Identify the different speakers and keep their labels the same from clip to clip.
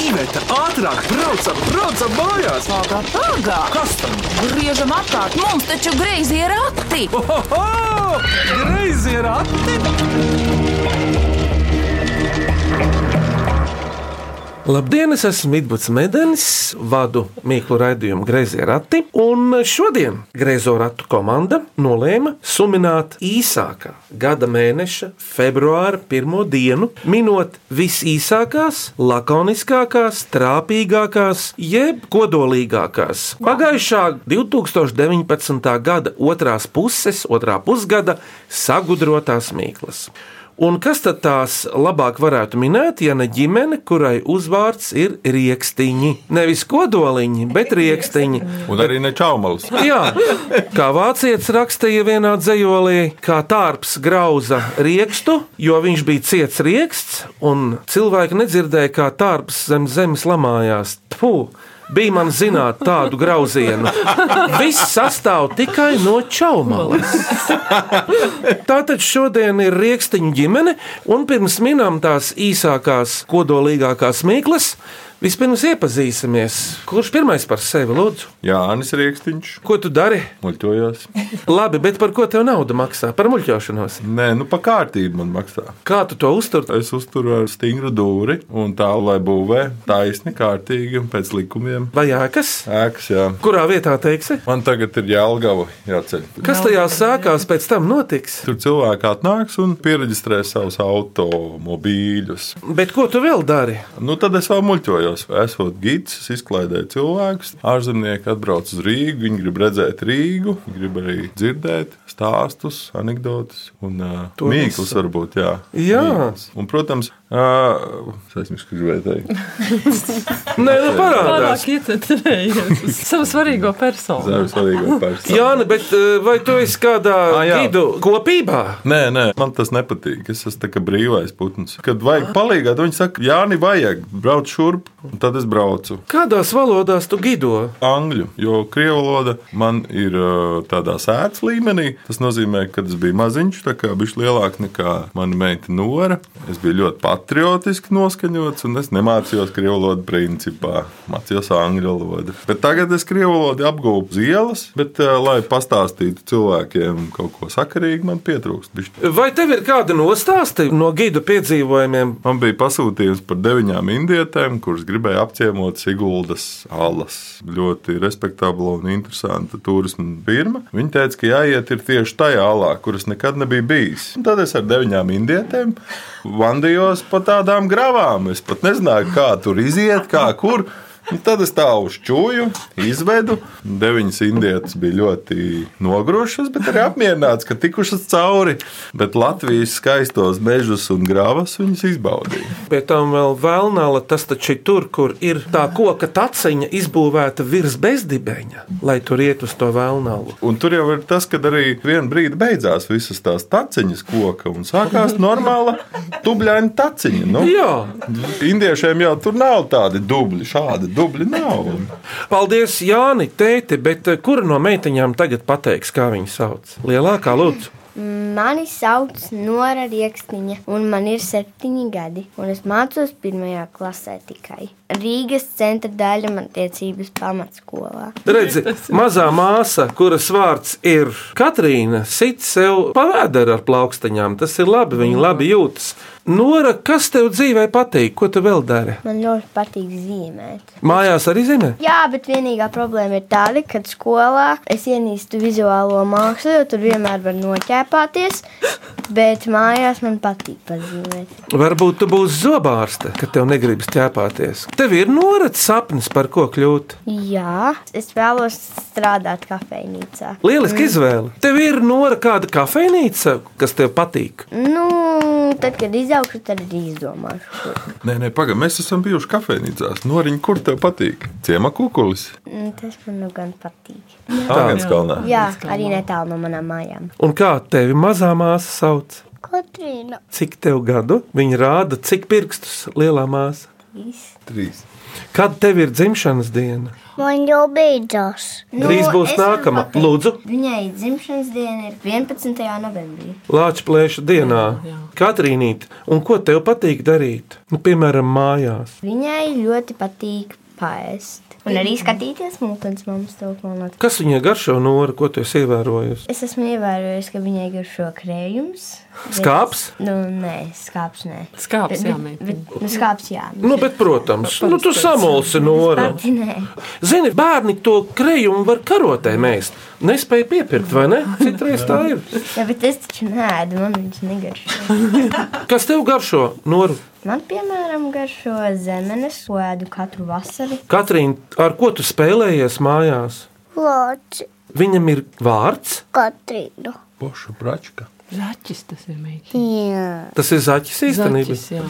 Speaker 1: Iveta, ātrāk, braucam, braucam mājās!
Speaker 2: Pagā, pagā!
Speaker 1: Kas tam?
Speaker 2: Griežam apkārt, mums taču greizi ir akti!
Speaker 1: Oho! Greizi ir ati!
Speaker 3: Labdien, es esmu Midbuds Medenis, vadu mīklu raidījumu Grazījā rati. Un šodien Grēzo ratu komanda nolēma suminēt īsākā gada mēneša, februāra pirmo dienu, minot visīsākās, lakoniskākās, trāpīgākās, jeb kodolīgākās pagājušā 2019. gada otrās puses, otrā pusgada sagudrotās mīklas. Un kas tad tās labāk varētu minēt, ja ne ģimene, kurai uzvārds ir rīkstiņi? Nevis kodoliņi, bet rīkstiņi.
Speaker 4: Un arī ne čaumalis.
Speaker 3: Jā, kā vācietis rakstīja vienā dzijolī, kā tārps grauza riekstu, jo viņš bija ciets rieksts, un cilvēki nedzirdēja, kā tārps zem zemes lamājās. Tfu! Bija man zināt tādu grauzienu. Viss sastāv tikai no čaumalas. Tātad šodien ir rīkstiņu ģimene, un pirms minām tās īsākās, kodolīgākās mīklas, vispirms iepazīsimies. Kurš pirmais par sevi lūdzu?
Speaker 4: Jā, Anis Rieksniņš,
Speaker 3: Ko tu dari?
Speaker 4: muļķojās.
Speaker 3: Labi, bet par ko tev nauda maksā? Par muļķošanos.
Speaker 4: Nē, nu pa kārtību man maksā.
Speaker 3: Kā tu to uztur?
Speaker 4: Es uzturu ar stingru dūri un tā, lai būvē taisni, kārtīgi un pēc likumiem.
Speaker 3: Vai ēkas?
Speaker 4: Ēkas, jā.
Speaker 3: Kurā vietā teiksi?
Speaker 4: Man tagad ir jālgava jāceļ.
Speaker 3: Kas tajā sākās, pēc tam notiks?
Speaker 4: Tur cilvēki atnāks un pieregistrē savus automobīļus.
Speaker 3: Bet ko tu vēl dari?
Speaker 4: Nu, tad es vēl muļķojos. Esot gids, es izklaidēju cilvēkus. Ārzemnieki atbrauc uz Rīgu. Viņi grib redzēt Rīgu, grib arī dzirdēt stāstus, anekdotus un uh,
Speaker 3: To
Speaker 4: mīklus,
Speaker 3: visu.
Speaker 4: varbūt. Jā,
Speaker 3: Jā.
Speaker 4: Mīklus. Un, protams, uh, es nezinu, ko gribēju teikt.
Speaker 3: Nē, nu parādās.
Speaker 5: Pārāk ietekmējies uz savu svarīgo personu.
Speaker 4: Zēvis svarīgāk pārstāvēt.
Speaker 3: Jā, bet eh, vai tu esi kādā
Speaker 4: Ā, jā.
Speaker 3: vidu kopībā?
Speaker 4: Nē, nē, man tas nepatīk. Es esmu tāds brīvais putns. Kad vajag palīdzēt, viņi saka, Jā, nē, vajag braukt šurp, un tad es braucu.
Speaker 3: Kādās valodās tu gido?
Speaker 4: angļu, jo krievu valoda man ir ā, tādā sēdz līmenī. Tas nozīmē, ka es biju maziņš, tā kā bijis lielāks nekā mana meita Nora. Es biju ļoti patriotiski noskaņots, un es nemācījos krievu valodu principā. Mācījos angļu valodu. Bet tagad es krievu valodu apgūstu zielas, bet, ā, lai pastāstītu cilvēkiem kaut ko sakarīgu, man pietrūkst. bišķi.
Speaker 3: Vai tev ir kādi nostāsti no gidu piedzīvojumiem?
Speaker 4: Man bija pasūtījums par deviņām indietēm, kuras gribēja apciemot Siguldas alas. Ļoti respektabla un interesanta turisma firma. Viņa teica, ka jāiet ir tieši tajā alā, kuras nekad nebija bijis. Un tad es ar deviņām indietēm vandījos pa tādām gravām. Es pat nezināju, kā tur iziet, kā kur. Un Nu, tad es tā uzšķūju, izvedu. Deviņas indietes bija ļoti nogrošas, bet arī apmierināts, ka tikušas cauri. Bet Latvijas skaistos mežus un grāvas viņas izbaudīja.
Speaker 3: Pie tam vēl vēlnāla, tas taču ir tur, kur ir tā koka taciņa izbūvēta virs bezdibeņa, lai tur iet uz to vēlnālu.
Speaker 4: Un tur jau ir tas, kad arī vienā brīdī beidzās visas tās taciņas koka un sākās normāla dubļaina taciņa. Nu,
Speaker 3: Jā,
Speaker 4: indiešiem jau tur nav tādi dubļi, šādi dubļi nav.
Speaker 3: paldies Jāni, tēti, bet eh, kura no meitiņām tagad pateiks, kā viņu sauc? Lielākā lūdzu.
Speaker 6: Mani sauc Nora Rieksniņa, un man ir septiņi gadi. un Es mācos pirmajā klasē tikai Rīgas centra daļa matiecības pamatskolā.
Speaker 3: Redzi, mazā māsa, kuras vārds ir Katrīna, sit sev pavēdara ar plaukstiņām. Tas ir labi, viņa labi jūtas. Nora, kas tev dzīvē patīk, ko tu vēl dari?
Speaker 6: Man ļoti patīk zīmēt.
Speaker 3: Mājās arī zini?
Speaker 6: Jā, bet vienīgā problēma ir tāda, ka skolā es ienīstu vizuālo mākslu, jo tur vienmēr var noķēpāties. Bet mājās man patīk pazīmēt.
Speaker 3: Varbūt tu būsi zobārste, kad tev negribas ķēpāties. Tev ir norādīts sapnis, par ko kļūt.
Speaker 6: Jā, es vēlos strādāt kafejnīcā.
Speaker 3: Lieliski izvēle. Tev ir nora kāda kafejnīca, kas tev patīk.
Speaker 6: Nu, tad, kad izaugšu, tad arī izdomāšu. ko.
Speaker 4: Nē, nē, pagaidi, mēs esam bijuši kafejnīcās. Noriņ, kur tev patīk? Ciemā kukulis.
Speaker 6: Nu, Tas man nu gan patīk.
Speaker 3: Ah,
Speaker 4: Āgānskalnā.
Speaker 6: Jā, arī netālu no manām mājām.
Speaker 3: Un kā tevi mazā māsa sauc?
Speaker 6: Katrīna,
Speaker 3: Cik tev gadu? Viņa rāda, cik pirkstus lielā māsa.
Speaker 6: Trīs.
Speaker 4: Trīs.
Speaker 3: Kad tev ir dzimšanas diena?
Speaker 7: Man jau beidzās.
Speaker 3: Drīz būs
Speaker 6: Nu, es varu
Speaker 3: nākama.
Speaker 6: pateikt.
Speaker 3: Lūdzu.
Speaker 6: Viņai dzimšanas diena ir 11. novembrī.
Speaker 3: Lāča plēša dienā, Katrīnīt, un ko tev patīk darīt? Nu, piemēram, mājās.
Speaker 6: Viņai ļoti patīk paēst. Un arī skatīties mūtens mums to monētu.
Speaker 3: Kas viņai garšo nora, ko tu esi ievērojusi?
Speaker 6: Es esmu ievērojis, ka viņai garšo krējums. bet-
Speaker 3: Skāps?
Speaker 6: Nu, nē, skāps nē.
Speaker 5: Skāps, jā,
Speaker 6: Bet-
Speaker 5: meitiņ.
Speaker 6: bet- Nu, skāps jā.
Speaker 3: Nu, bet, protams, nu, tu samulsi nora.
Speaker 6: Pati nē.
Speaker 3: Zini, bērni to krejumu var karotē mēst. Nespēja piepirkt, vai ne? Citreiz tā ir.
Speaker 6: Jā, bet es taču nēdu, man viņš negaršo.
Speaker 3: Kas tev garšo nora?
Speaker 6: Man, piemēram, garšo zemenes, ko ēdu katru vasaru.
Speaker 3: Katrīna, ar ko tu spēlējies mājās?
Speaker 7: Lāci
Speaker 3: Viņam ir vārds,
Speaker 7: Katrīnu.
Speaker 4: Pošu pračka.
Speaker 5: Zaķis tas ir meitene.
Speaker 7: Jā.
Speaker 3: tas ir zaķis īstenībā.
Speaker 5: Zaķis, jā.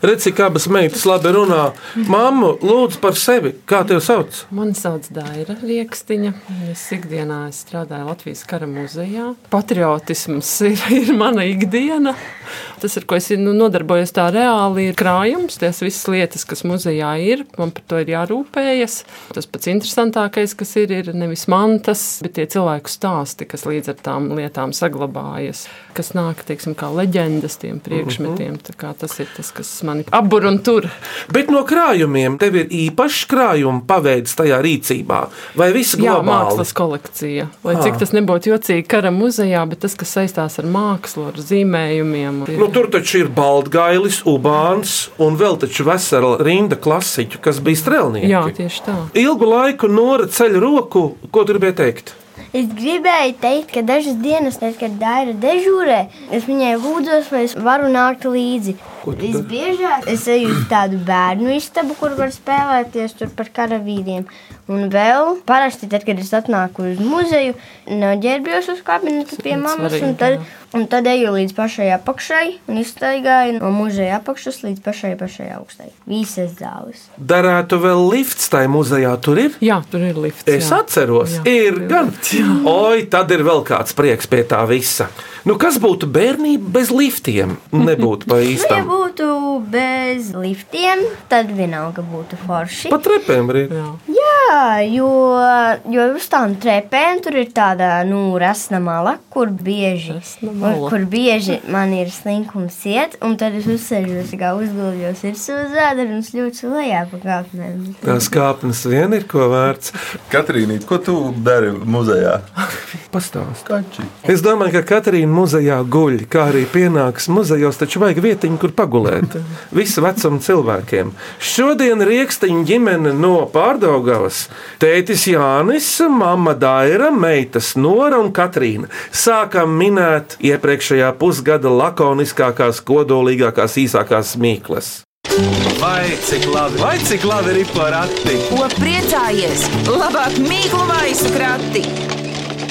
Speaker 3: Redz, cik abas meitas labi runā. Māmu, lūdzu par sevi, kā tevi sauc?
Speaker 5: Mani sauc Daira Rieksniņa. Es ikdienā es strādāju Latvijas kara muzejā. Patriotisms ir, ir mana ikdiena. Tas, ar ko es nu, nodarbojos, tā reāli ir krājums. Tās visas lietas, kas muzejā ir, man par to ir jārūpējas. Tas pats interesantākais, kas ir, ir nevis mantas, bet tie cilvēku stāsti, kas līdz ar tām lietām saglabājas, kas nāk, teiksim, kā leģendas tiem priekšmetiem. Tā kā Tas ir tas, kas mani apbur un tur.
Speaker 3: Bet no krājumiem tev ir īpašs krājuma paveids tajā rīcībā, vai viss
Speaker 5: Jā,
Speaker 3: globāli? Ah.
Speaker 5: mākslas kolekcija. Lai cik tas nebūtu jocīgi kara muzejā, bet tas, kas saistās ar mākslu, ar zīmējumiem. ir-
Speaker 3: Nu, tur taču ir Baltgailis, Ubāns un vēl taču vesela rinda klasiķu, kas bija strēlnieki.
Speaker 5: Jā, tieši tā.
Speaker 3: Ilgu laiku Nora ceļ roku, ko tu gribēji teikt?
Speaker 6: Es gribēju teikt, ka dažas dienas, tad, kad Daira dežūrē, es viņai lūdzos, vai es varu nākt līdzi. Visbiežāk es eju uz tādu bērnu istabu, kur var spēlēties tur par karavīriem. Un vēl parasti, tad, kad es atnāku uz muzeju, noģērbjos uz kabinetu pie
Speaker 5: Ļoti
Speaker 6: mammas.
Speaker 5: svarīgi,
Speaker 6: Un tad, un tad eju līdz pašai apakšai un iztaigāju no muzeja apakšas līdz pašai pašai augstai. Visas zāles.
Speaker 3: Darētu vēl lifts tajā muzejā, tur ir?
Speaker 5: Jā, tur ir lifts.
Speaker 3: Es
Speaker 5: jā.
Speaker 3: atceros, jā,
Speaker 5: Jā.
Speaker 3: ir gan. Oi, tad ir vēl kāds prieks pie tā visa. Nu, kas būtu bērnība bez liftiem? Nebūtu pa
Speaker 6: Nu, ja
Speaker 3: īstam.
Speaker 6: būtu bez liftiem, tad vienalga būtu forši.
Speaker 3: Pa trepēm arī.
Speaker 5: Jā.
Speaker 6: Jā, jo, jo uz tām trepēm tur ir tāda nu, rasna mala, kur bieži,
Speaker 5: Resna
Speaker 6: kur,
Speaker 5: mala.
Speaker 6: kur bieži man ir slinkums iet, un tad es uzsēžos, kā uzguļos virsū uz ēdera un sļūču lejā pa kāpnēm.
Speaker 3: Tās kāpnes vien ir ko vērts.
Speaker 4: Katrīnīt, ko tu dari muzejā?
Speaker 3: Pastāst.
Speaker 4: Kači.
Speaker 3: Es domāju, ka Katrīna muzejā guļ, kā arī pienāks muzejos, taču vajag vietiņu, kur pagulēt. Visu vecumu cilvēkiem. Šodien rīksteņa ģimene no Pārdaugavas - tētis Jānis, mamma Daira, meitas Nora un Katrīna. Sākam minēt iepriekšējā pusgada lakoniskākās, kodolīgākās, īsākās mīklas.
Speaker 1: Vai cik labi, vai cik labi ir porakti?
Speaker 2: Ko priecājies? Labāk mīklu maisu krati.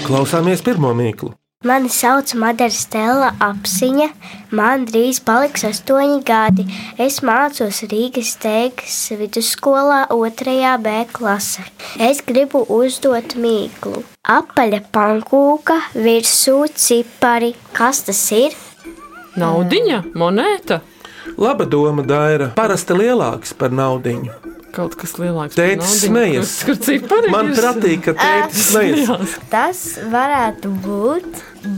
Speaker 3: Klausāmies pirmo mīklu.
Speaker 7: Mani sauc Madara Stela apziņa. Man drīz paliks astoņi gadi. Es mācos Rīgas teikas vidusskolā, 2. B klasē. Es gribu uzdot mīklu. Apaļa pankūka virsū cipari. Kas tas ir?
Speaker 5: Naudiņa, monēta,
Speaker 3: Laba doma, Daira. Parasti lielāks par naudiņu.
Speaker 5: kaut kas lielāks. par
Speaker 3: Tētis
Speaker 5: naudiņu,
Speaker 3: smejas.
Speaker 5: Kur, kur cipari?
Speaker 3: Man
Speaker 5: ir?
Speaker 3: patīk, ka tētis smejas.
Speaker 5: Jā.
Speaker 6: Tas varētu būt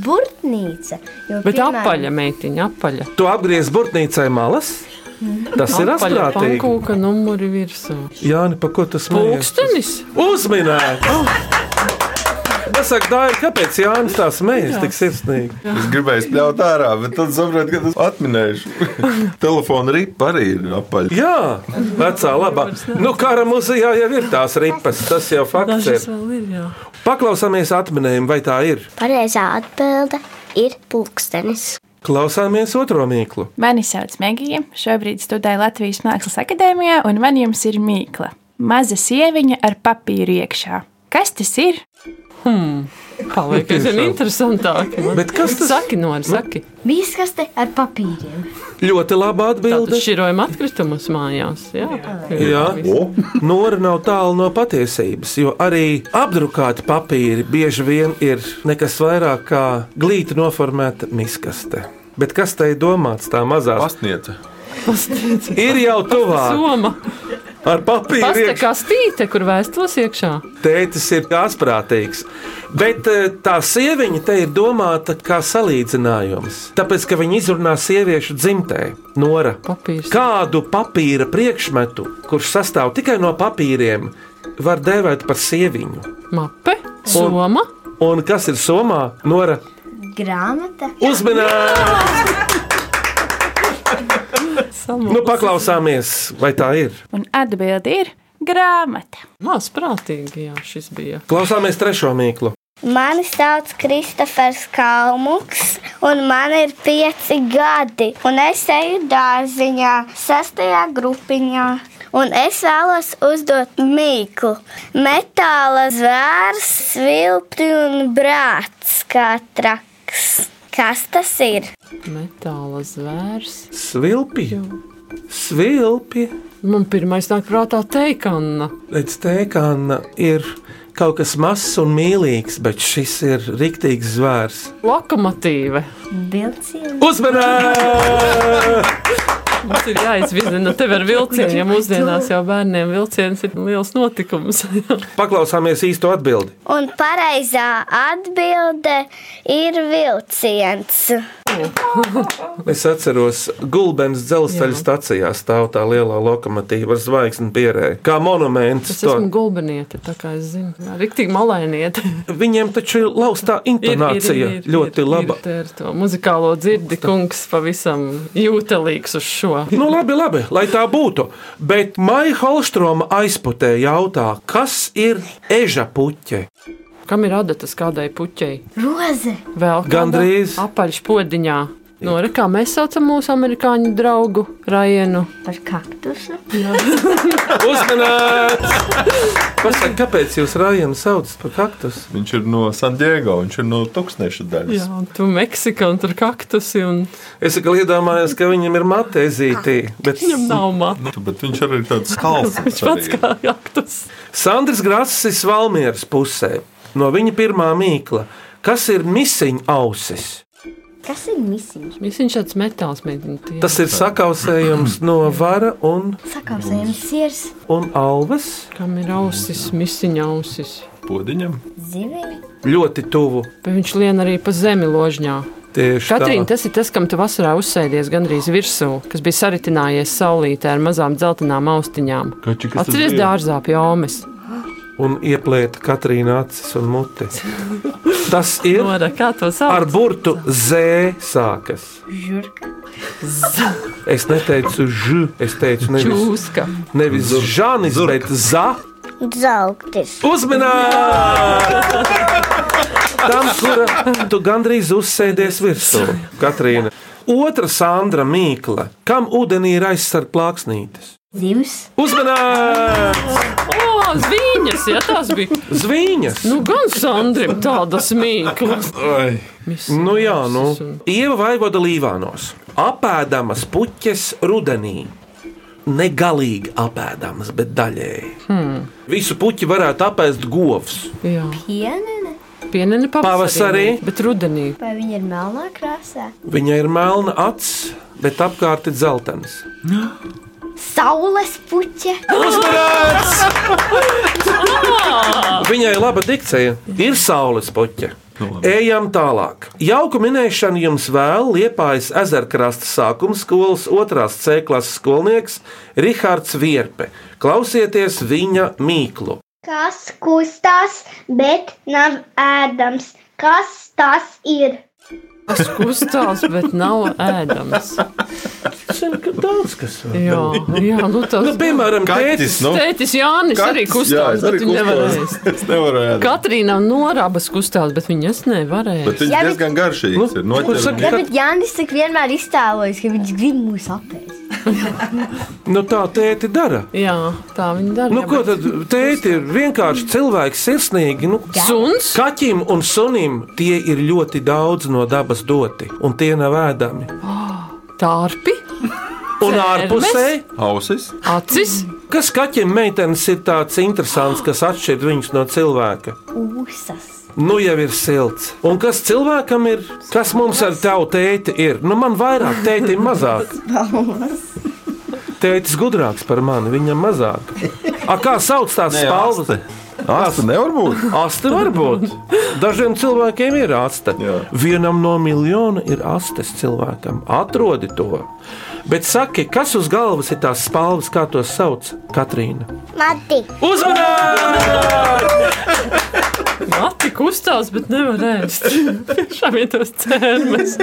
Speaker 6: burtnīca. Jo,
Speaker 5: Bet
Speaker 6: piemēram,
Speaker 5: apaļa meitiņa, apaļa.
Speaker 3: Tu apgriež burtnīcai malas. Tas ir
Speaker 5: apaļa
Speaker 3: astotīgi.
Speaker 5: pankūka numuri virsū.
Speaker 3: Jā, nē, pa ko tas smejies?
Speaker 5: Pūkstenis?
Speaker 3: Uzminēt! Oh! Es saku, tā ir kāpēc Jānis tā smējas tik sirsnīgi.
Speaker 4: Es gribēju spļaut ārā, bet tad sapratu, ka tas atminēšu. Telefona ripa arī ir apaļa.
Speaker 3: Jā, vecā labā. Nu, kara muzejā jau ir tās ripas, tas jau fakts
Speaker 5: Dažas
Speaker 3: ir.
Speaker 5: vēl ir, jā.
Speaker 3: Paklausāmies atminējumu, vai tā ir.
Speaker 7: Pareizā atbilde ir pulkstenis.
Speaker 3: Klausāmies otro mīklu.
Speaker 8: Mani sauc Megija, šobrīd studēju Latvijas Mākslas akadēmijā, un man jums ir mīkla. Maza sieviņa ar papīru iekšā. Kas tas ir?
Speaker 5: Paliek aizvien interesantāk. man.
Speaker 3: Bet kas tas-
Speaker 5: Saki, Nora, saki.
Speaker 6: Viskaste ar papīriem.
Speaker 3: Ļoti laba
Speaker 5: Tātad
Speaker 3: atbilde.
Speaker 5: šķirojam atkritumus mājās. Jā,
Speaker 3: Jā. Nora nav tālu no patiesības, jo arī apdrukāti papīri bieži vien ir nekas vairāk kā glīti noformēta miskaste. Bet kas te ir domāts tā mazā?
Speaker 4: Pasniedz.
Speaker 5: Pastīte.
Speaker 3: Ir jau tuvāk
Speaker 5: Soma.
Speaker 3: ar papīru.
Speaker 5: Pasta
Speaker 3: iekšā.
Speaker 5: kastīte, kur vēstules iekšā.
Speaker 3: Tētis ir asprātīgs. Bet eh, tā sieviņa te ir domāta kā salīdzinājums. Tāpēc, ka viņa izrunā sieviešu dzimtē, Nora.
Speaker 5: Papīrs.
Speaker 3: Kādu papīra priekšmetu, kurš sastāv tikai no papīriem, var dēvēt par sieviņu?
Speaker 5: Mape. Soma.
Speaker 3: Un kas ir Somā? Nora
Speaker 6: Grāmata.
Speaker 3: uzmanība! Nu,
Speaker 5: Samu.
Speaker 3: paklausāmies, vai tā ir.
Speaker 8: Un atbildi ir grāmata.
Speaker 5: Mās prātīgi, jā, šis bija.
Speaker 3: Klausāmies trešo mīklu.
Speaker 7: Mani sauc Kristofers Kalmuks, un man ir pieci gadi. Un es eju dārziņā, sastajā grupiņā. Un es vēlos uzdot mīklu. Metāla zvērs, vilti un brāts kā traks. Kas tas ir?
Speaker 5: Metāla zvērs.
Speaker 3: Svilpju, svilpju.
Speaker 5: Man pirmais nāk prātā teikana.
Speaker 3: Līdz tēkāna ir kaut kas mazs un mīlīgs, bet šis ir riktīgs zvērs.
Speaker 5: Lokomotīve.
Speaker 6: Vilciens.
Speaker 3: Uzmanība!
Speaker 5: Mums ir jāizvirza tev ar vilcienu, ja mūsdienās jau bērniem vilciens ir liels notikums.
Speaker 3: Paklausāmies īsto atbildi.
Speaker 7: Un pareizā atbilde ir vilciens.
Speaker 3: Es atceros, Gulbens dzelzceļa stacijā stāv tā lielā lokomotīva ar zvaigzni pierēju. Kā monuments.
Speaker 5: Es esmu gulbiniete, tā kā es zinu, riktīgi malēniete.
Speaker 3: Viņiem taču ir laustā intonācija ir, ir, ir, ļoti ir, laba.
Speaker 5: Ir, tā ir to muzikālo dzirdi, kungs pavisam jūtelīgs uz šo.
Speaker 3: Nu, labi, labi, lai tā būtu. Bet Maija Holstroma aizputē jautā, kas ir eža puķe?
Speaker 5: Kam ir adatas kādai puķei?
Speaker 6: Roze.
Speaker 5: Vēl kādā
Speaker 3: Gandrīz.
Speaker 5: apaļšpodiņā. No, re, kā mēs saucam mūsu amerikāņu draugu Rajenu?
Speaker 6: Par kaktusu.
Speaker 3: Uzmanīts! Pasakiet, kāpēc jūs Rājanu saucat par kaktus?
Speaker 4: Viņš ir no San Diego, viņš ir no Tuksneša daļas.
Speaker 5: Jā, un tu Meksika un tur kaktusi un
Speaker 3: Es tikai iedomājos, ka viņam ir matezītī, bet
Speaker 5: viņam nav matu.
Speaker 4: Nu, Bet viņš arī ir tāds kalns.
Speaker 5: Viņš pats kā kaktus.
Speaker 3: Sandrs Grāsis ir Svalmieras pusē. No viņa pirmā mīkla. Kas ir misiņa ausis?
Speaker 6: Kas ir misija?
Speaker 5: Viņš ir tāds metāls mēģinājums.
Speaker 3: Tas ir sakausējums no vara un,
Speaker 6: Sakausējums sirs.
Speaker 3: un alvas.
Speaker 5: Kam ir ausis, misiņa ausis?
Speaker 4: Podiņam.
Speaker 6: Zivīm.
Speaker 3: Ļoti tuvu.
Speaker 5: Bet viņš lien arī pa zemi ložņā.
Speaker 3: Tieši
Speaker 5: Katrīna,
Speaker 3: tā.
Speaker 5: tas ir tas, kam tu vasarā uzsēdies gandrīz virsū, kas bija saritinājies saulītē ar mazām dzeltenām austiņām.
Speaker 4: Kači, kas tas
Speaker 5: Atceries
Speaker 4: bija?
Speaker 5: dārzā pie Omas.
Speaker 3: Un ieplēta Katrīna acis un mute. Tas ir
Speaker 5: Nora, kā to
Speaker 3: ar
Speaker 5: sauc?
Speaker 3: burtu Z sākas.
Speaker 6: Žurka.
Speaker 3: Es neteicu žu, es teicu nevis
Speaker 5: Čūska.
Speaker 3: Nevis Žanis, bet Za.
Speaker 7: Zeltis.
Speaker 3: Uzmanīgi! Tam, kur tu gandrīz uzsēdies virsū, Katrīna. Otra Sandra Mīkla, kam ūdenī ir aizsargta plāksnītes.
Speaker 6: Zivs.
Speaker 3: Uzmanīgi!
Speaker 5: O, zviņas, ja tās bija.
Speaker 3: Zviņas!
Speaker 5: Nu, gan Sandrim tādas mīklas.
Speaker 4: Ai.
Speaker 3: Nu, jā, nu. Ieva Vaivoda Līvānos. Apēdamas puķes rudenī. Negalīgi apēdamas, bet daļēji. Hmm. Visu puķi varētu apēst govs.
Speaker 5: Jā,
Speaker 6: Pienene.
Speaker 5: pienene
Speaker 3: Pavasarī.
Speaker 5: pavasarī. Bet rudenī.
Speaker 6: Vai viņa ir melnā krāsā?
Speaker 3: Viņai ir melna acis, bet apkārt ir dzeltenis.
Speaker 6: Saules puķe.
Speaker 3: Uzmanīts! Viņai ir laba dikcija. Ir saules poķa. Ejam tālāk. Jauku minēšanu jums vēl liepājas ezerkrasta sākuma skolas otrās C klases skolnieks Rihards Vierpe. Klausieties viņa mīklu.
Speaker 7: Kas kustās, bet nav ēdams? Kas tas ir?
Speaker 5: Tas kustās, bet nav ēdams.
Speaker 3: Daudz kas var.
Speaker 5: Jā, jā nu tas
Speaker 3: Nu, piemēram,
Speaker 4: Kaķis,
Speaker 3: tētis.
Speaker 4: nu.
Speaker 5: Tētis Jānis arī
Speaker 4: Jā,
Speaker 5: kustās,
Speaker 4: es arī
Speaker 5: bet viņš nevarēja.
Speaker 4: kustos. Es nevaru ēst.
Speaker 5: Katrīna norābas kustās, bet viņas nevarēja.
Speaker 4: Bet viņš
Speaker 6: Jā, bet-
Speaker 4: diezgan garšīgs ir.
Speaker 3: Nu, saka,
Speaker 4: Noķer,
Speaker 6: Jā, bet Jānis tik vienmēr iztēlojas, ka viņš grib mūs apēst.
Speaker 3: Nu, tā tēti dara.
Speaker 5: Jā, tā viņa dara.
Speaker 3: Nu,
Speaker 5: jā,
Speaker 3: ko
Speaker 5: bet-
Speaker 3: tad tēti ir vienkārši cilvēks sirsnīgi? Nu,
Speaker 5: Suns?
Speaker 3: Kaķim un sunim tie ir ļoti daudz no dabas doti, un tie nav ēdami.
Speaker 5: Tārpi,
Speaker 3: Un ārpusē,
Speaker 4: ausis.
Speaker 5: acis,
Speaker 3: kas kaķim meitenes ir tāds interesants, kas atšķir viņus no cilvēka?
Speaker 6: Ūsas.
Speaker 3: Nu jau ir silts. Un kas cilvēkam ir? Kas mums ar tevu tēti ir? Nu man vairāk, tēti mazāk. Tētis gudrāks par mani, viņam mazāk. A, kā sauc tās spalvas?
Speaker 4: Asta nevar būt.
Speaker 3: Aste var būt. Dažiem cilvēkiem ir aste.
Speaker 4: Jā.
Speaker 3: Vienam no miljona ir astes cilvēkam. Atrodi to. Bet saki, kas uz galvas ir tās spalvas, kā to sauc Katrīna?
Speaker 7: Mati,
Speaker 3: Uzmanīgi!
Speaker 5: Mati kustās, bet nevar ēst. Tiešām ir tos cērmes.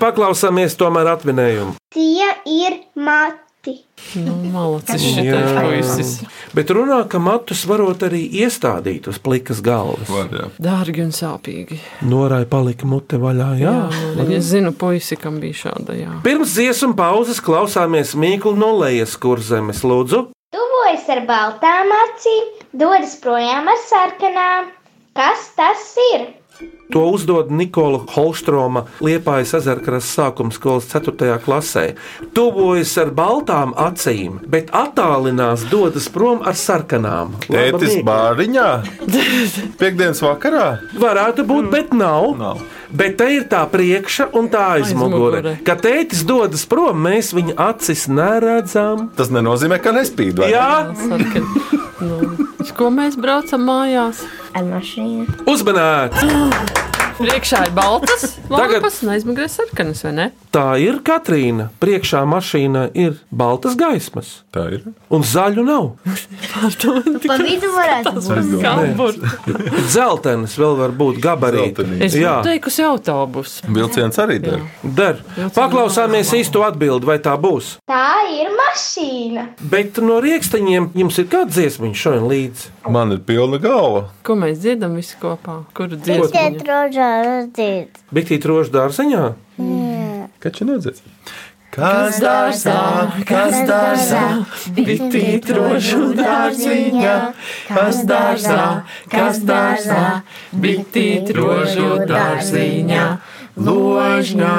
Speaker 3: Paklausāmies tomēr atminējumu.
Speaker 7: tie ir mati.
Speaker 5: Nu, malacis šitais
Speaker 3: Jā.
Speaker 5: puisis.
Speaker 3: Bet runā, ka matus varot arī iestādīt uz plikas galvas.
Speaker 4: Var, jā.
Speaker 5: Dārgi un sāpīgi.
Speaker 3: Norai palika mute vaļā. Jā.
Speaker 5: Jā, es zinu puisi, kam bija šāda. Jā.
Speaker 3: Pirms dziesmu pauzes klausāmies Mīklu no lejas kurzemes lūdzu.
Speaker 7: Tuvojas ar baltām acīm, dodas projām ar sarkanām. Kas tas ir?
Speaker 3: To uzdod Nikola Holstroma Liepājas ezerkaras sākuma skolas 4. klasē. Tuvojas ar baltām acīm, bet attālinās dodas prom ar sarkanām. Laba
Speaker 4: Tētis
Speaker 3: Mīkla.
Speaker 4: bāriņā. Piektdienas vakarā.
Speaker 3: Varētu būt, bet nav.
Speaker 4: Nav.
Speaker 3: Bet te ir tā priekša un tā aizmugure.
Speaker 5: Aizmugure.
Speaker 3: Kad tētis dodas prom, mēs viņa acis neredzam.
Speaker 4: Tas nenozīmē, ka nespīd. vai ne?
Speaker 3: Jā,
Speaker 5: Sarkan. Nu, uz ko mēs braucam mājās?
Speaker 6: Ar mašīnu.
Speaker 3: Nu, uzmanīts!
Speaker 5: Priekšā ir baltas,
Speaker 3: Tagad-
Speaker 5: lapas un aizmugurē sarkanas, vai ne?
Speaker 3: Tā ir Katrīna. Priekšā mašīnā ir baltas gaismas,
Speaker 4: Tā ir.
Speaker 3: un zaļu nav.
Speaker 6: Pa vidu varētu būt.
Speaker 5: Kalbur.
Speaker 3: Zeltenis vēl var būt gabarīts.
Speaker 4: Zeltenīts.
Speaker 5: Es
Speaker 3: Jā.
Speaker 5: būtu teikusi autobus.
Speaker 4: Vilciens arī dara.
Speaker 3: Der. Paklausāmies īsto atbildi, vai tā būs.
Speaker 7: Tā ir mašīna.
Speaker 3: Bet no rīksteņiem jums ir kāds dziesmiņš šodien līdzi.
Speaker 4: Man ir pilna galva.
Speaker 5: Ko mēs dziedam visi kopā? Kuru
Speaker 6: Tie
Speaker 5: dziesmu?
Speaker 6: trožā redzīt.
Speaker 3: Bitīt rožu dārziņā?
Speaker 4: Kaķi nedzird. Kas
Speaker 5: dārzā,
Speaker 4: kas
Speaker 6: dārzā,
Speaker 5: bitīt rožu
Speaker 6: dārziņā? Kas dārzā, kas dārzā, bitīt rožu dārziņā? Ložņā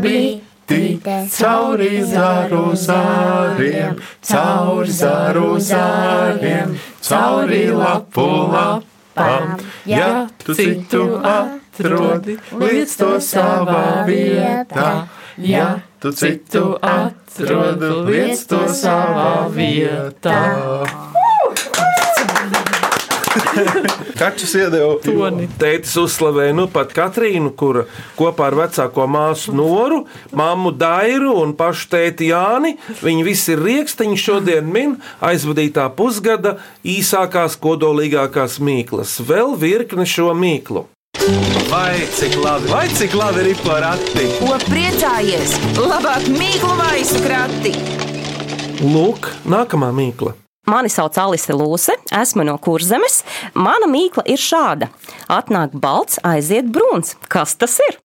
Speaker 4: biti,
Speaker 6: cauri zaru zāriem, cauri zaru zāriem, cauri lapu lapām. Ja
Speaker 4: tu
Speaker 5: citu atrodi, liec to savā vietā. Ja
Speaker 4: tu
Speaker 5: citu atrodi, liec to savā vietā.
Speaker 4: Kaķis iedeva.
Speaker 5: Toni.
Speaker 3: Tētis uzslavēja nu pat Katrīnu, kur kopā ar vecāko māsu Noru, māmu Dairu un pašu tēti Jāni. Viņi visi ir rīksteņi šodien min aizvadītā pusgada īsākās, kodolīgākās mīklas. Vēl virkne šo mīklu.
Speaker 1: Vai cik labi, vai cik labi ir porati?
Speaker 2: Ko priecājies? Labāk mīklu maisu krati!
Speaker 3: Lūk, nākamā mīkla.
Speaker 9: Mani sauc Alise Lūse, esmu no Kurzemes. Mana mīkla ir šāda. Atnāk balts, aiziet brūns. Kas tas ir?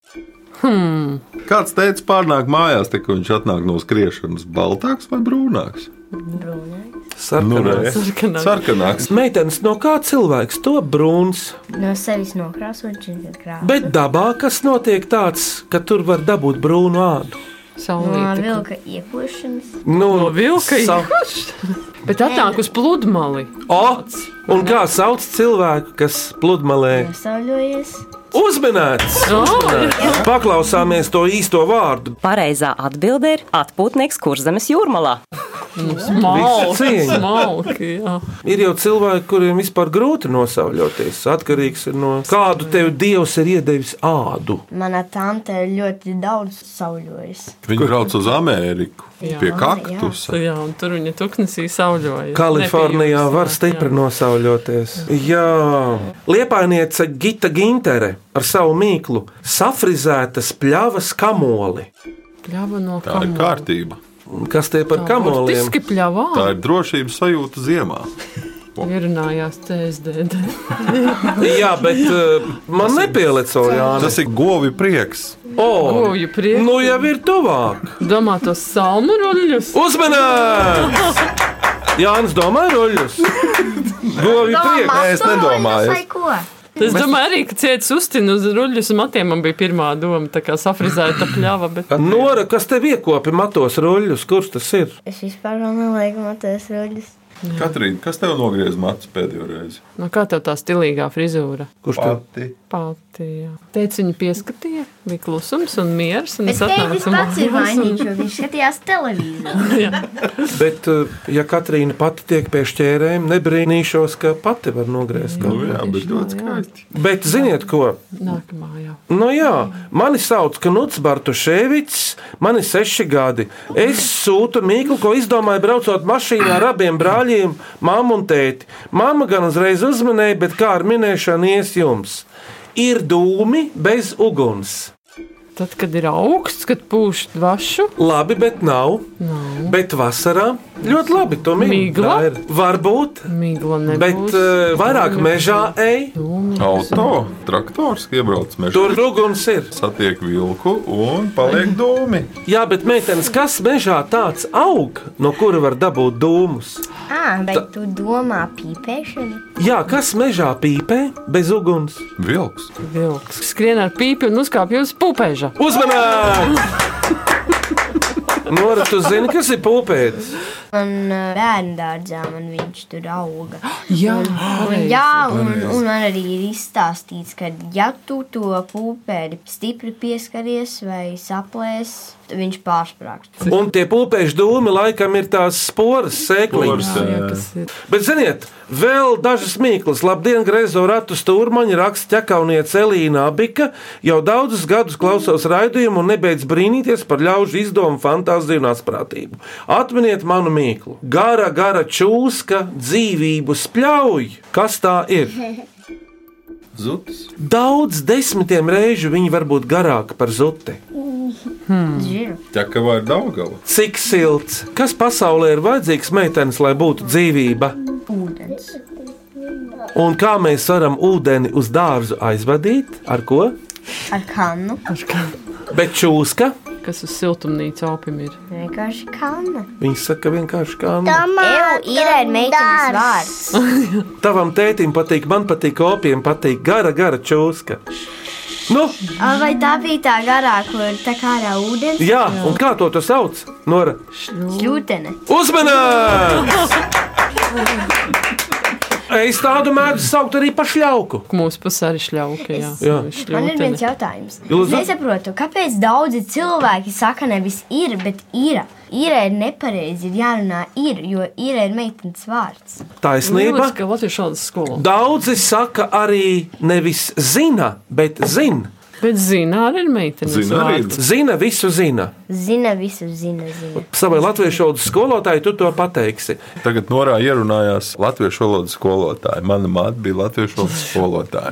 Speaker 4: Kāds teica, pārnāk mājās, tik viņš atnāk no skriešanas baltāks vai brūnāks? Nu,
Speaker 3: Sarkanās.
Speaker 5: Sarkanāks.
Speaker 4: sarkanāks.
Speaker 3: Meitenes, no kā cilvēks to brūns?
Speaker 6: No sevis nokrāsot, činot krāsu.
Speaker 3: Bet dabā kas notiek tāds, ka tur var dabūt brūnu ādu?
Speaker 6: No
Speaker 5: Saulīte.
Speaker 6: vilka iekošanas.
Speaker 3: Nu,
Speaker 5: No vilka
Speaker 3: sa-
Speaker 5: īpaši. Bet atnāk uz pludmali.
Speaker 3: O, un kā sauc cilvēku, kas pludmalē
Speaker 6: Pasauļojies.
Speaker 3: uzminēts?
Speaker 5: Oh,
Speaker 3: Paklausāmies to īsto vārdu.
Speaker 9: Pareizā atbilde ir atpūtnieks Kurzemes jūrmalā.
Speaker 5: smalki,
Speaker 3: cieņa.
Speaker 5: smalki, jā.
Speaker 3: Ir jau cilvēki, kuriem vispār grūti nosauļoties. Atkarīgs ir no kādu tev dievs ir iedevis ādu.
Speaker 6: Mana tante ļoti daudz sauļojas.
Speaker 4: Viņi brauc uz Ameriku pie kaktusa.
Speaker 5: jā, un tur viņa tuksnesī sauļoja.
Speaker 3: Kalifornijā
Speaker 5: Nepijus,
Speaker 3: var
Speaker 5: jā.
Speaker 3: stipri nosauļoties. Jā, liepainiece Gita Gintere ar savu mīklu safrizētas pļavas kamoli.
Speaker 5: Pļava no
Speaker 4: Tā ir
Speaker 5: kamola.
Speaker 4: kārtība.
Speaker 3: Kas tie par kamoliem?
Speaker 5: Burtiski pļavā.
Speaker 4: Tā ir drošības sajūta ziemā.
Speaker 5: Ierunājās CSDD.
Speaker 3: Jā, bet uh, man nepielico Jānis.
Speaker 4: Tas ir govi prieks.
Speaker 3: O,
Speaker 5: Goju prieks.
Speaker 3: nu jau ir tuvāk.
Speaker 5: Domā tos salmu ruļļus.
Speaker 3: Uzmanīgs! Jānis domā roļus. Govju priekš.
Speaker 4: Nē, es nedomāju.
Speaker 6: Vai ko?
Speaker 5: Es domāju arī, ka cietis uztina uz ruļļus matiem. Man bija pirmā doma, tā kā safrizēta pļava, bet
Speaker 3: Nora, kas tev iekopi matos roļus? Kurš tas ir?
Speaker 6: Es vispār vēl nelieku matēs roļus.
Speaker 4: Katrīna, kas tev nogriez matus pēdējo reizi?
Speaker 5: Nu, kā tev tā stilīgā frizūra?
Speaker 3: Kurš tev?
Speaker 4: Pati.
Speaker 5: Pati, jā. Teicu, viņa pieskatīja, bija klusums un miers. Un
Speaker 6: Es teicu, viņš pats ir
Speaker 5: mājās un-
Speaker 6: vainīgs, jo viņš skatījās televizoru.
Speaker 3: Bet, eh, ja Katrīna pati tiek pie šķērēm, nebrīnīšos, ka pati var nogriezt.
Speaker 4: Nu,
Speaker 3: kaut ko.
Speaker 4: jā, bet ļoti
Speaker 5: jā.
Speaker 4: skaisti.
Speaker 3: Bet ziniet, ko?
Speaker 5: Nākamā jau.
Speaker 3: Nu jā, mani sauc Knuts Bartuševics, man ir seši gadi. Es sūtu mīklu, ko izdomāju, braucot mašīnā ar abiem brāļiem, māmu un tēti. Māma gan uzreiz uzmanēja, bet kā ar minēšanu ies jums? Ir dūmi bez uguns.
Speaker 5: Tad, kad ir augsts, kad pūš dvašu,
Speaker 3: Labi, bet nav. nav. Bet vasarā ļoti labi. To
Speaker 5: Migla?
Speaker 3: mīklu. Varbūt.
Speaker 5: migla nebūs.
Speaker 3: Bet uh, vairāk mežā ej,
Speaker 4: Auto, traktors iebrauc mežā.
Speaker 3: tur uguns ir.
Speaker 4: Satiek vilku un paliek dūmi.
Speaker 3: Jā, bet meitenes, kas mežā tāds aug, no kura var dabūt dūmus?
Speaker 6: Ā, Ah, bet tu domā pīpēšanu?
Speaker 3: Jā, kas mežā pīpē bez uguns?
Speaker 4: Vilks.
Speaker 5: vilks skrien ar pīpi un uzkāpj uz pupeža.
Speaker 3: Uzmanīgi! Nora, tu zini, kas ir pūpēdis?
Speaker 6: Un ā, bērnu dārzā man viņš tur auga.
Speaker 5: Jā,
Speaker 6: Un, jā, un, un man arī ir izstāstīts, ka, ja tu to pūpēdi stipri pieskaries vai saplēs, tad viņš pārsprāgst.
Speaker 3: Un tie pūpēšu dūmi laikam ir tās sporas, sēkliņas.
Speaker 5: Jā,
Speaker 4: Kurš
Speaker 5: kas ir?
Speaker 3: Bet, ziniet, vēl dažas mīklas. Labdien, Grezo ratu stūrmaņa raksta ķekauniece Elīna Abika. Jau daudzus gadus klausos raidījumu un nebeidz brīnīties par ļaužu izdomu, fantāziju un asprātību. Atminiet manu mīklu. Gara, gara čūska dzīvību spļauj. Kas tā ir?
Speaker 4: Zuds.
Speaker 3: Daudz desmitiem reižu viņi var būt garāki par zuti.
Speaker 6: Žiru.
Speaker 4: Čakavā ir Daugava.
Speaker 3: Cik silts, kas pasaulē ir vajadzīgs meitenes, lai būtu dzīvība?
Speaker 6: Ūdens.
Speaker 3: Un kā mēs varam ūdeni uz dārzu aizvadīt? Ar ko?
Speaker 6: Ar kannu.
Speaker 3: Bet čūska,
Speaker 5: kas uz siltumnīcu opim ir?
Speaker 6: Vienkārši kanna.
Speaker 3: viņa saka, vienkārši kā nu.
Speaker 6: Ev ir ar meitenes vārds.
Speaker 3: Tavam tētim patīk, man patīk, opiem patīk gara, gara čūska. Nu,
Speaker 6: A, Vai tā bija tā garā, kur tā kā ar ūdeni?
Speaker 3: jā, un kā to tu sauc? Nora,
Speaker 6: Ļūtene.
Speaker 3: uzmanīgs! Es tādu mēdzu saukt arī par šļauku.
Speaker 5: Mūsu pusē arī šļauka. Jā,
Speaker 3: Jā.
Speaker 6: Man ir
Speaker 5: šļautene.
Speaker 6: viens jautājums. Es
Speaker 3: Lūdzu.
Speaker 6: nesaprotu, kāpēc daudzi cilvēki saka, nevis ir, bet ir. Ir ir nepareizi, ir jārunā ir, jo ir ir meitenes vārds.
Speaker 3: Taisnība.
Speaker 5: Liekas, ka Latvijas šādas skolas.
Speaker 3: Daudzi saka, arī nevis zina, bet zina.
Speaker 5: Bet zina arī ir meitene.
Speaker 4: Zina arī ir.
Speaker 3: Zina, visu zina.
Speaker 6: Zina visu, zina, zina.
Speaker 3: Savai latviešu valodas skolotājai tu to pateiksi.
Speaker 4: Tagad norā ierunājās latviešu valodas skolotāja. Mana māte bija latviešu valodas skolotāja.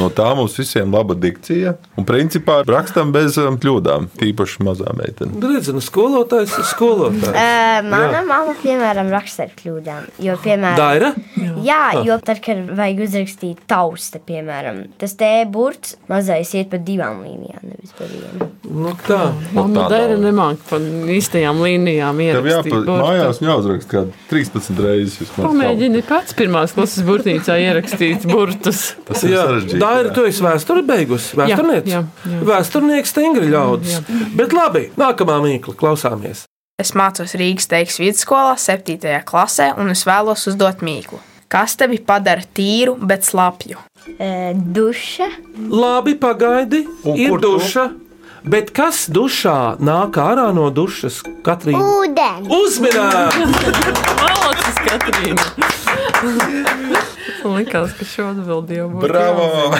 Speaker 4: No tā mums visiem laba dikcija. Un principā rakstam bez um, kļūdām, tīpaši mazā meitene.
Speaker 3: Redzi, nu skolotājs ir skolotājs.
Speaker 6: Mana mamma, piemēram, raksta ar kļūdām. Jo, piemēram,
Speaker 3: Daira,
Speaker 6: Jā, jo tad, kad vajag uzrakstīt tausta, piemēram, tas te burts mazais iet pa divām līnijām, nevis pa vienu.
Speaker 3: nu tā.
Speaker 5: Mamma
Speaker 4: tā
Speaker 5: dara
Speaker 4: daudz.
Speaker 5: nemāk pa īstajām līnijām
Speaker 4: Tev
Speaker 5: ierakstīt.
Speaker 4: jāpa-
Speaker 5: burtu.
Speaker 4: mājās jāuzraksta kaut kāda 13 reizes. vismaz
Speaker 5: Pamēģini pats pirmās klases burtnīcā ierakstīt burtus.
Speaker 4: kaut- Tas ir sarežģīti.
Speaker 3: Daira, tu esi vēsture beigusi.
Speaker 5: jā,
Speaker 3: Vēsturnieks.
Speaker 5: jā.
Speaker 3: Vēsturnieks stingri ļaudis. Bet labi, nākamā mīkla klausāmies.
Speaker 10: Es mācos Rīgas teiks vidusskolā, 7. klasē, un es vēlos uzdot mīklu. Kas tevi padara tīru, bet slapju?
Speaker 6: E, duša,
Speaker 3: Labi, pagaidi,
Speaker 4: Un
Speaker 3: ir
Speaker 4: kur tu?
Speaker 3: duša. Bet kas dušā nāk ārā no dušas? Katrīna
Speaker 7: Ūdeni!
Speaker 3: uzmanība!
Speaker 5: Malacis, Katrīna! Likās, ka šo atbildi jau būtu.
Speaker 4: Bravo!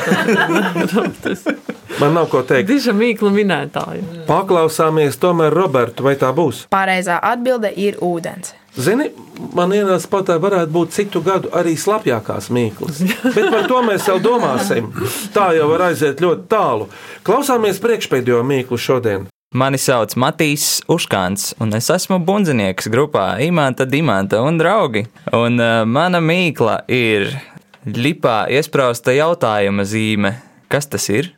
Speaker 3: Man nav ko teikt.
Speaker 5: Diža mīkla minētāja.
Speaker 3: Paklausāmies tomēr Robertu, vai tā būs?
Speaker 10: Pareizā atbilde ir ūdens.
Speaker 3: Zini, man ienāca pat tā, varētu būt citu gadu arī slapjākās mīklas. Bet par to mēs vēl domāsim. Tā jau var aiziet ļoti tālu. Klausāmies priekšpēdējo mīklu šodien.
Speaker 11: Mani sauc Matīs Uškāns, un es esmu bundzinieks grupā Imants, Dimanta un draugi. Un uh, mana mīkla ir lipā iesprāsta jautājuma zīme. Kas tas ir?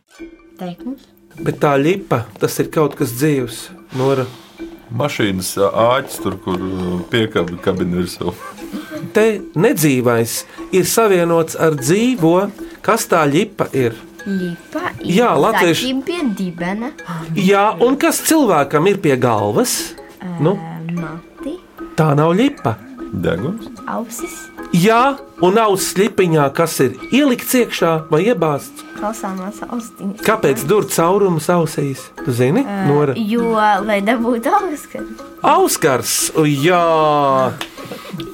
Speaker 6: teikums.
Speaker 3: Bet tā lipa, tas ir kaut kas dzīves. Nora.
Speaker 4: Mašīnas ā, āķis tur, kur uh, piekāpja kabina virsū.
Speaker 3: Te nedzīvais ir savienots ar dzīvo, kas tā lipa ir.
Speaker 6: Lipa,
Speaker 3: Jā, latvieši-
Speaker 6: Zaķim pie dibena,
Speaker 3: Jā, un kas cilvēkam ir pie galvas? Nu,
Speaker 6: mati,
Speaker 3: tā nav lipa.
Speaker 4: Deguns.
Speaker 6: Ausis,
Speaker 3: Jā, un auss lipiņā, kas ir ielikts iekšā vai iebāzts.
Speaker 6: klausāmās austiņas.
Speaker 3: Kāpēc tur caurumus ausīs? Tu zini,
Speaker 6: Ā,
Speaker 3: Nora?
Speaker 6: Jo, lai dabūtu auskari.
Speaker 3: Auskars, jā.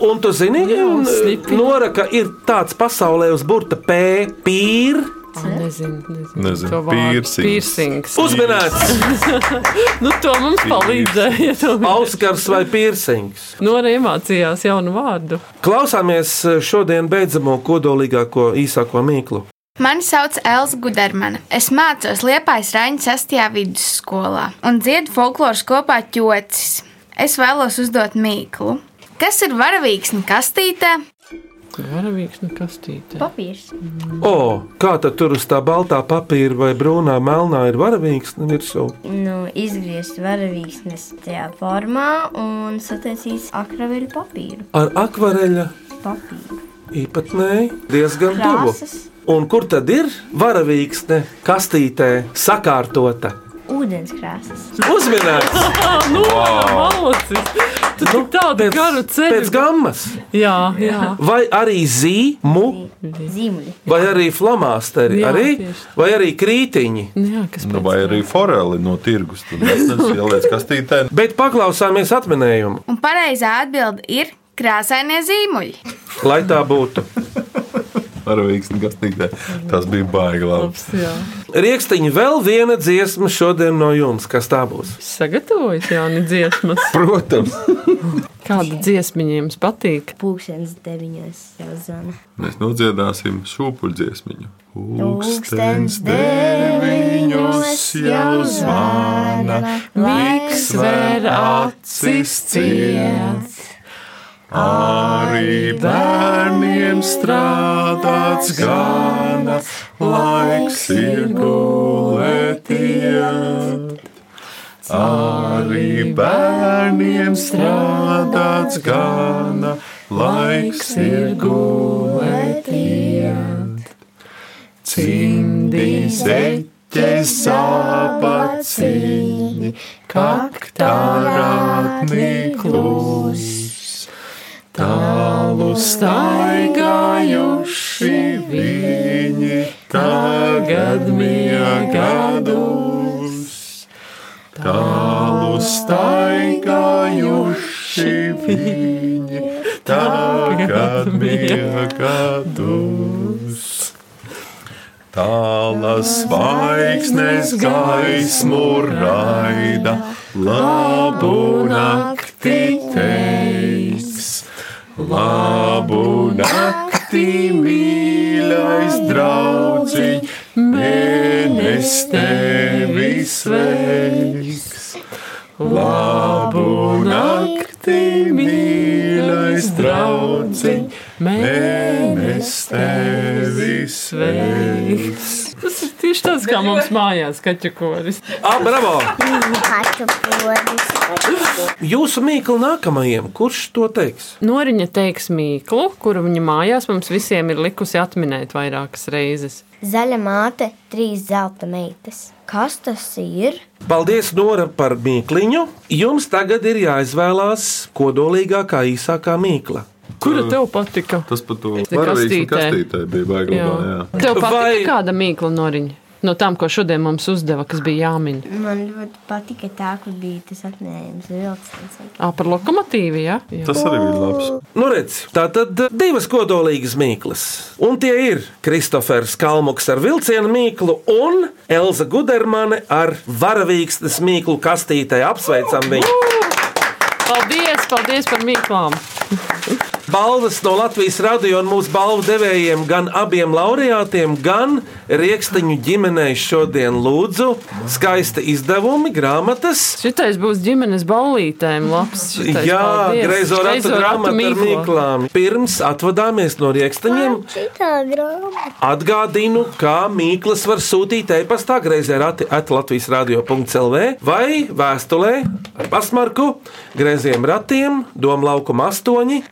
Speaker 3: Un tu zini, un, e, Nora, ka ir tāds pasaulē uz burta P, pīr.
Speaker 5: Nezinu, nezinu.
Speaker 4: Nezinu,
Speaker 5: to vārdu.
Speaker 4: piercings.
Speaker 5: Piercings.
Speaker 3: Uzmanīts!
Speaker 5: nu, to mums palīdzēja.
Speaker 3: Auskars vai piercings?
Speaker 5: Nora iemācījās jaunu vārdu.
Speaker 3: Klausāmies eh, šodien beidzamo kodolīgāko īsāko mīklu.
Speaker 12: Mani sauc Elza Gudermana. Es mācos Liepājas Raņa 6. vidusskolā un dziedu folkloras kopā ķocis. Es vēlos uzdot mīklu. Kas ir varavīgs un kastītē?
Speaker 5: Varavīgs un kastīte.
Speaker 12: Papīrs.
Speaker 3: O, kā tad tur uz tā baltā papīra vai brūnā melnā ir varavīgs virsū?
Speaker 6: Nu, izgriezt varavīksnes tajā formā un sataisīt akraveļu papīru.
Speaker 3: Ar akvareļa
Speaker 6: Papīru.
Speaker 3: īpatnēji diezgan tuvu.
Speaker 6: Krāsas.
Speaker 3: Un kur tad ir varavīksne kastītē sakārtota?
Speaker 6: Ūdenskrāsas.
Speaker 3: Uzminēts!
Speaker 5: Nu,
Speaker 3: Wow.
Speaker 5: malacis! Tu nu, tādu garu ceļu.
Speaker 3: Pēc gammas!
Speaker 5: Jā, jā.
Speaker 3: Vai arī zīmu,
Speaker 6: Zīmuli.
Speaker 3: vai arī flamāsteri,
Speaker 5: Jā,
Speaker 3: arī,
Speaker 5: tieši.
Speaker 3: vai arī krītiņi.
Speaker 5: Jā, kas
Speaker 4: Nu, vai arī foreli no tirgus. Tur ieliec kastītē.
Speaker 3: Bet paklausāmies atminējumu,
Speaker 12: Un pareizā atbilde ir krāsainie zīmuļi.
Speaker 3: lai tā būtu.
Speaker 4: Varavīgs un kastītē. Tas bija baigi labi.
Speaker 5: Jā.
Speaker 3: Rīkstiņa vēl viena dziesma šodien no jums, kas tā būs.
Speaker 5: Sagatavojas Jāni dziesmas.
Speaker 4: Protams.
Speaker 5: Kāda dziesmiņa jums patīk?
Speaker 6: Pūkstens deviņos jau zvanā.
Speaker 4: Mēs nodziedāsim šūpuļdziesmiņu.
Speaker 6: Pūkstens deviņos jau zvana,
Speaker 5: laiks
Speaker 4: sver acis ciet. Arī bērniem strādāts gana, laiks ir gulēties. Arī bērniem strādāts gana, laiks ir gulēties. Cimdi zeķe sāpaciņi, kaktā ratnī klūs. Tālu staigājuši viņi tagad miegadus. Tālu staigājuši viņi tagad miegadus. Tālas zvaigznes gaismu raida, labu nakti teiks. Labu nakti, mīļais draudziņ, mēnes tevi sveiks. Labu nakti, mīļais draudziņ, mēnes tevi sveiks.
Speaker 5: Tas ir tieši tāds, kā mums mājās, kaķu koris.
Speaker 3: Ah, bravo!
Speaker 6: Kartupeļus.
Speaker 3: Jūsu mīklu nākamajam, kurš to teiks?
Speaker 5: Noriņa teiks mīklu, kuru viņa mājās mums visiem ir likusi atminēt vairākas reizes.
Speaker 6: Zaļa māte, trīs zelta meitas. Kas tas ir?
Speaker 3: Paldies, Nora, par mīkliņu. Jums tagad ir jāizvēlās kodolīgākā, īsākā mīkla.
Speaker 5: Kura tev patika?
Speaker 4: Tas pat to
Speaker 5: Te
Speaker 4: varavīgs un
Speaker 5: kastītē.
Speaker 4: kastītē bija baigi labā, jā.
Speaker 5: Tev patika
Speaker 3: Vai-
Speaker 5: Vai... kāda mīkla noriņa? No tām, ko šodien mums uzdeva, kas bija jāmin.
Speaker 6: Man ļoti patika tā, kur bija tas apgājums, vilciens.
Speaker 5: Ā, par lokomotīvu, jā? jā.
Speaker 4: Tas arī bija labs.
Speaker 3: Nu, redz, tā tad divas kodolīgas mīklas. Un tie ir Kristofers Kalmoks ar vilcienu mīklu un Elza Gudermane ar varavīksnes mīklu kastītē. Apsveicam viņu!
Speaker 5: Paldies, paldies par mīklām!
Speaker 3: Balvas no Latvijas radio un mūsu balvu devējiem, gan abiem laureātiem, gan rīkstiņu ģimenei šodien lūdzu. Skaisti izdevumi, grāmatas.
Speaker 5: Šitais būs ģimenes ballītēm labs. Šitais,
Speaker 3: Jā,
Speaker 5: paldies.
Speaker 3: grazot
Speaker 5: Greizo
Speaker 3: grāmatu ar
Speaker 5: mīklu.
Speaker 3: mīklām. Pirms atvadāmies no rīkstaņiem,
Speaker 6: Šitā grāmatā.
Speaker 3: Atgādinu, ka mīklas var sūtīt e-pastā grazē rati atlatvijas radio.clv vai vēstulē ar pasmarku graziem ratiem Doma laukuma 8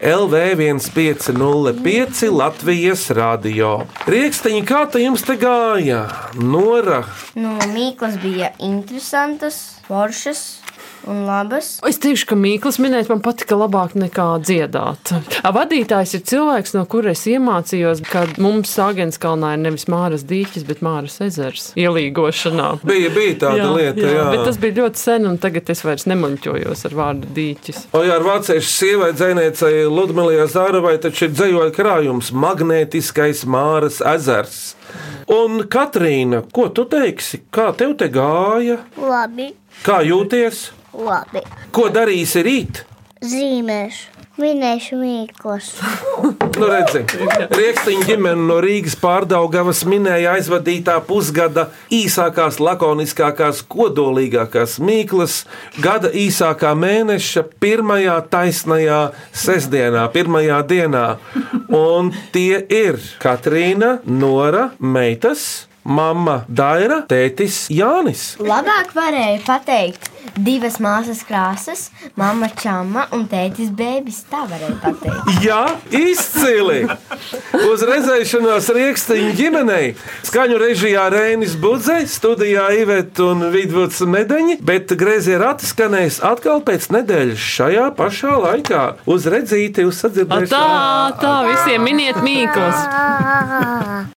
Speaker 3: LV1505 Latvijas radio. Rieksteņi, kā te jums te gāja? Nora,
Speaker 6: Nu, mīklas bija interesantas, foršas. un labas.
Speaker 5: Es teikšu, ka Mikls minēt man patika labāk nekā dziedāt. A, vadītājs ir cilvēks, no kura es iemācījos, ka mums Sāgenskalnā ir nevis Māras dīķis, bet Māras ezers ielīgošanā.
Speaker 3: Bija, bija tāda jā, lieta, jā.
Speaker 5: Bet tas bija ļoti sen, un tagad es vairs nemuļķojos ar vārdu dīķis.
Speaker 3: O, jā, ar vāciešu sievai dzinējai Ludmilai Zāravai taču ir dzējoja krājums - magnētiskais Māras ezers. Un Katrīna, ko tu teiksi? Kā tev te gāja?
Speaker 7: Labi,
Speaker 3: Kā jūties?
Speaker 7: labi.
Speaker 3: Ko darīsi rīt?
Speaker 7: Zīmēšu, minēšu mīklas.
Speaker 3: Nu, redzi, Rieksniņa ģimene no Rīgas pārdaugavas minēja aizvadītā pusgada īsākās, lakoniskākās, kodolīgākās mīklas, gada īsākā mēneša, pirmajā taisnajā sestdienā, pirmajā dienā. Un tie ir Katrīna, Nora, Meitas. Mama Daira, tētis Jānis.
Speaker 6: Labāk varēja pateikt divas māsas krāsas, mama čama un tētis bēbis. Tā varēja pateikt.
Speaker 3: Jā, izcili! Uz redzēšanos rīkstiņa ģimenei. Skaņu režijā Rēnis Budze, studijā Iveta un Vidvuds Medeņi, bet grezie rati skanēs atkal pēc nedēļas šajā pašā laikā. Uz redzīti, uz
Speaker 5: A,
Speaker 3: sadzirdēšanu!
Speaker 5: Tā, tā, visiem miniet Mikls!
Speaker 7: Ā,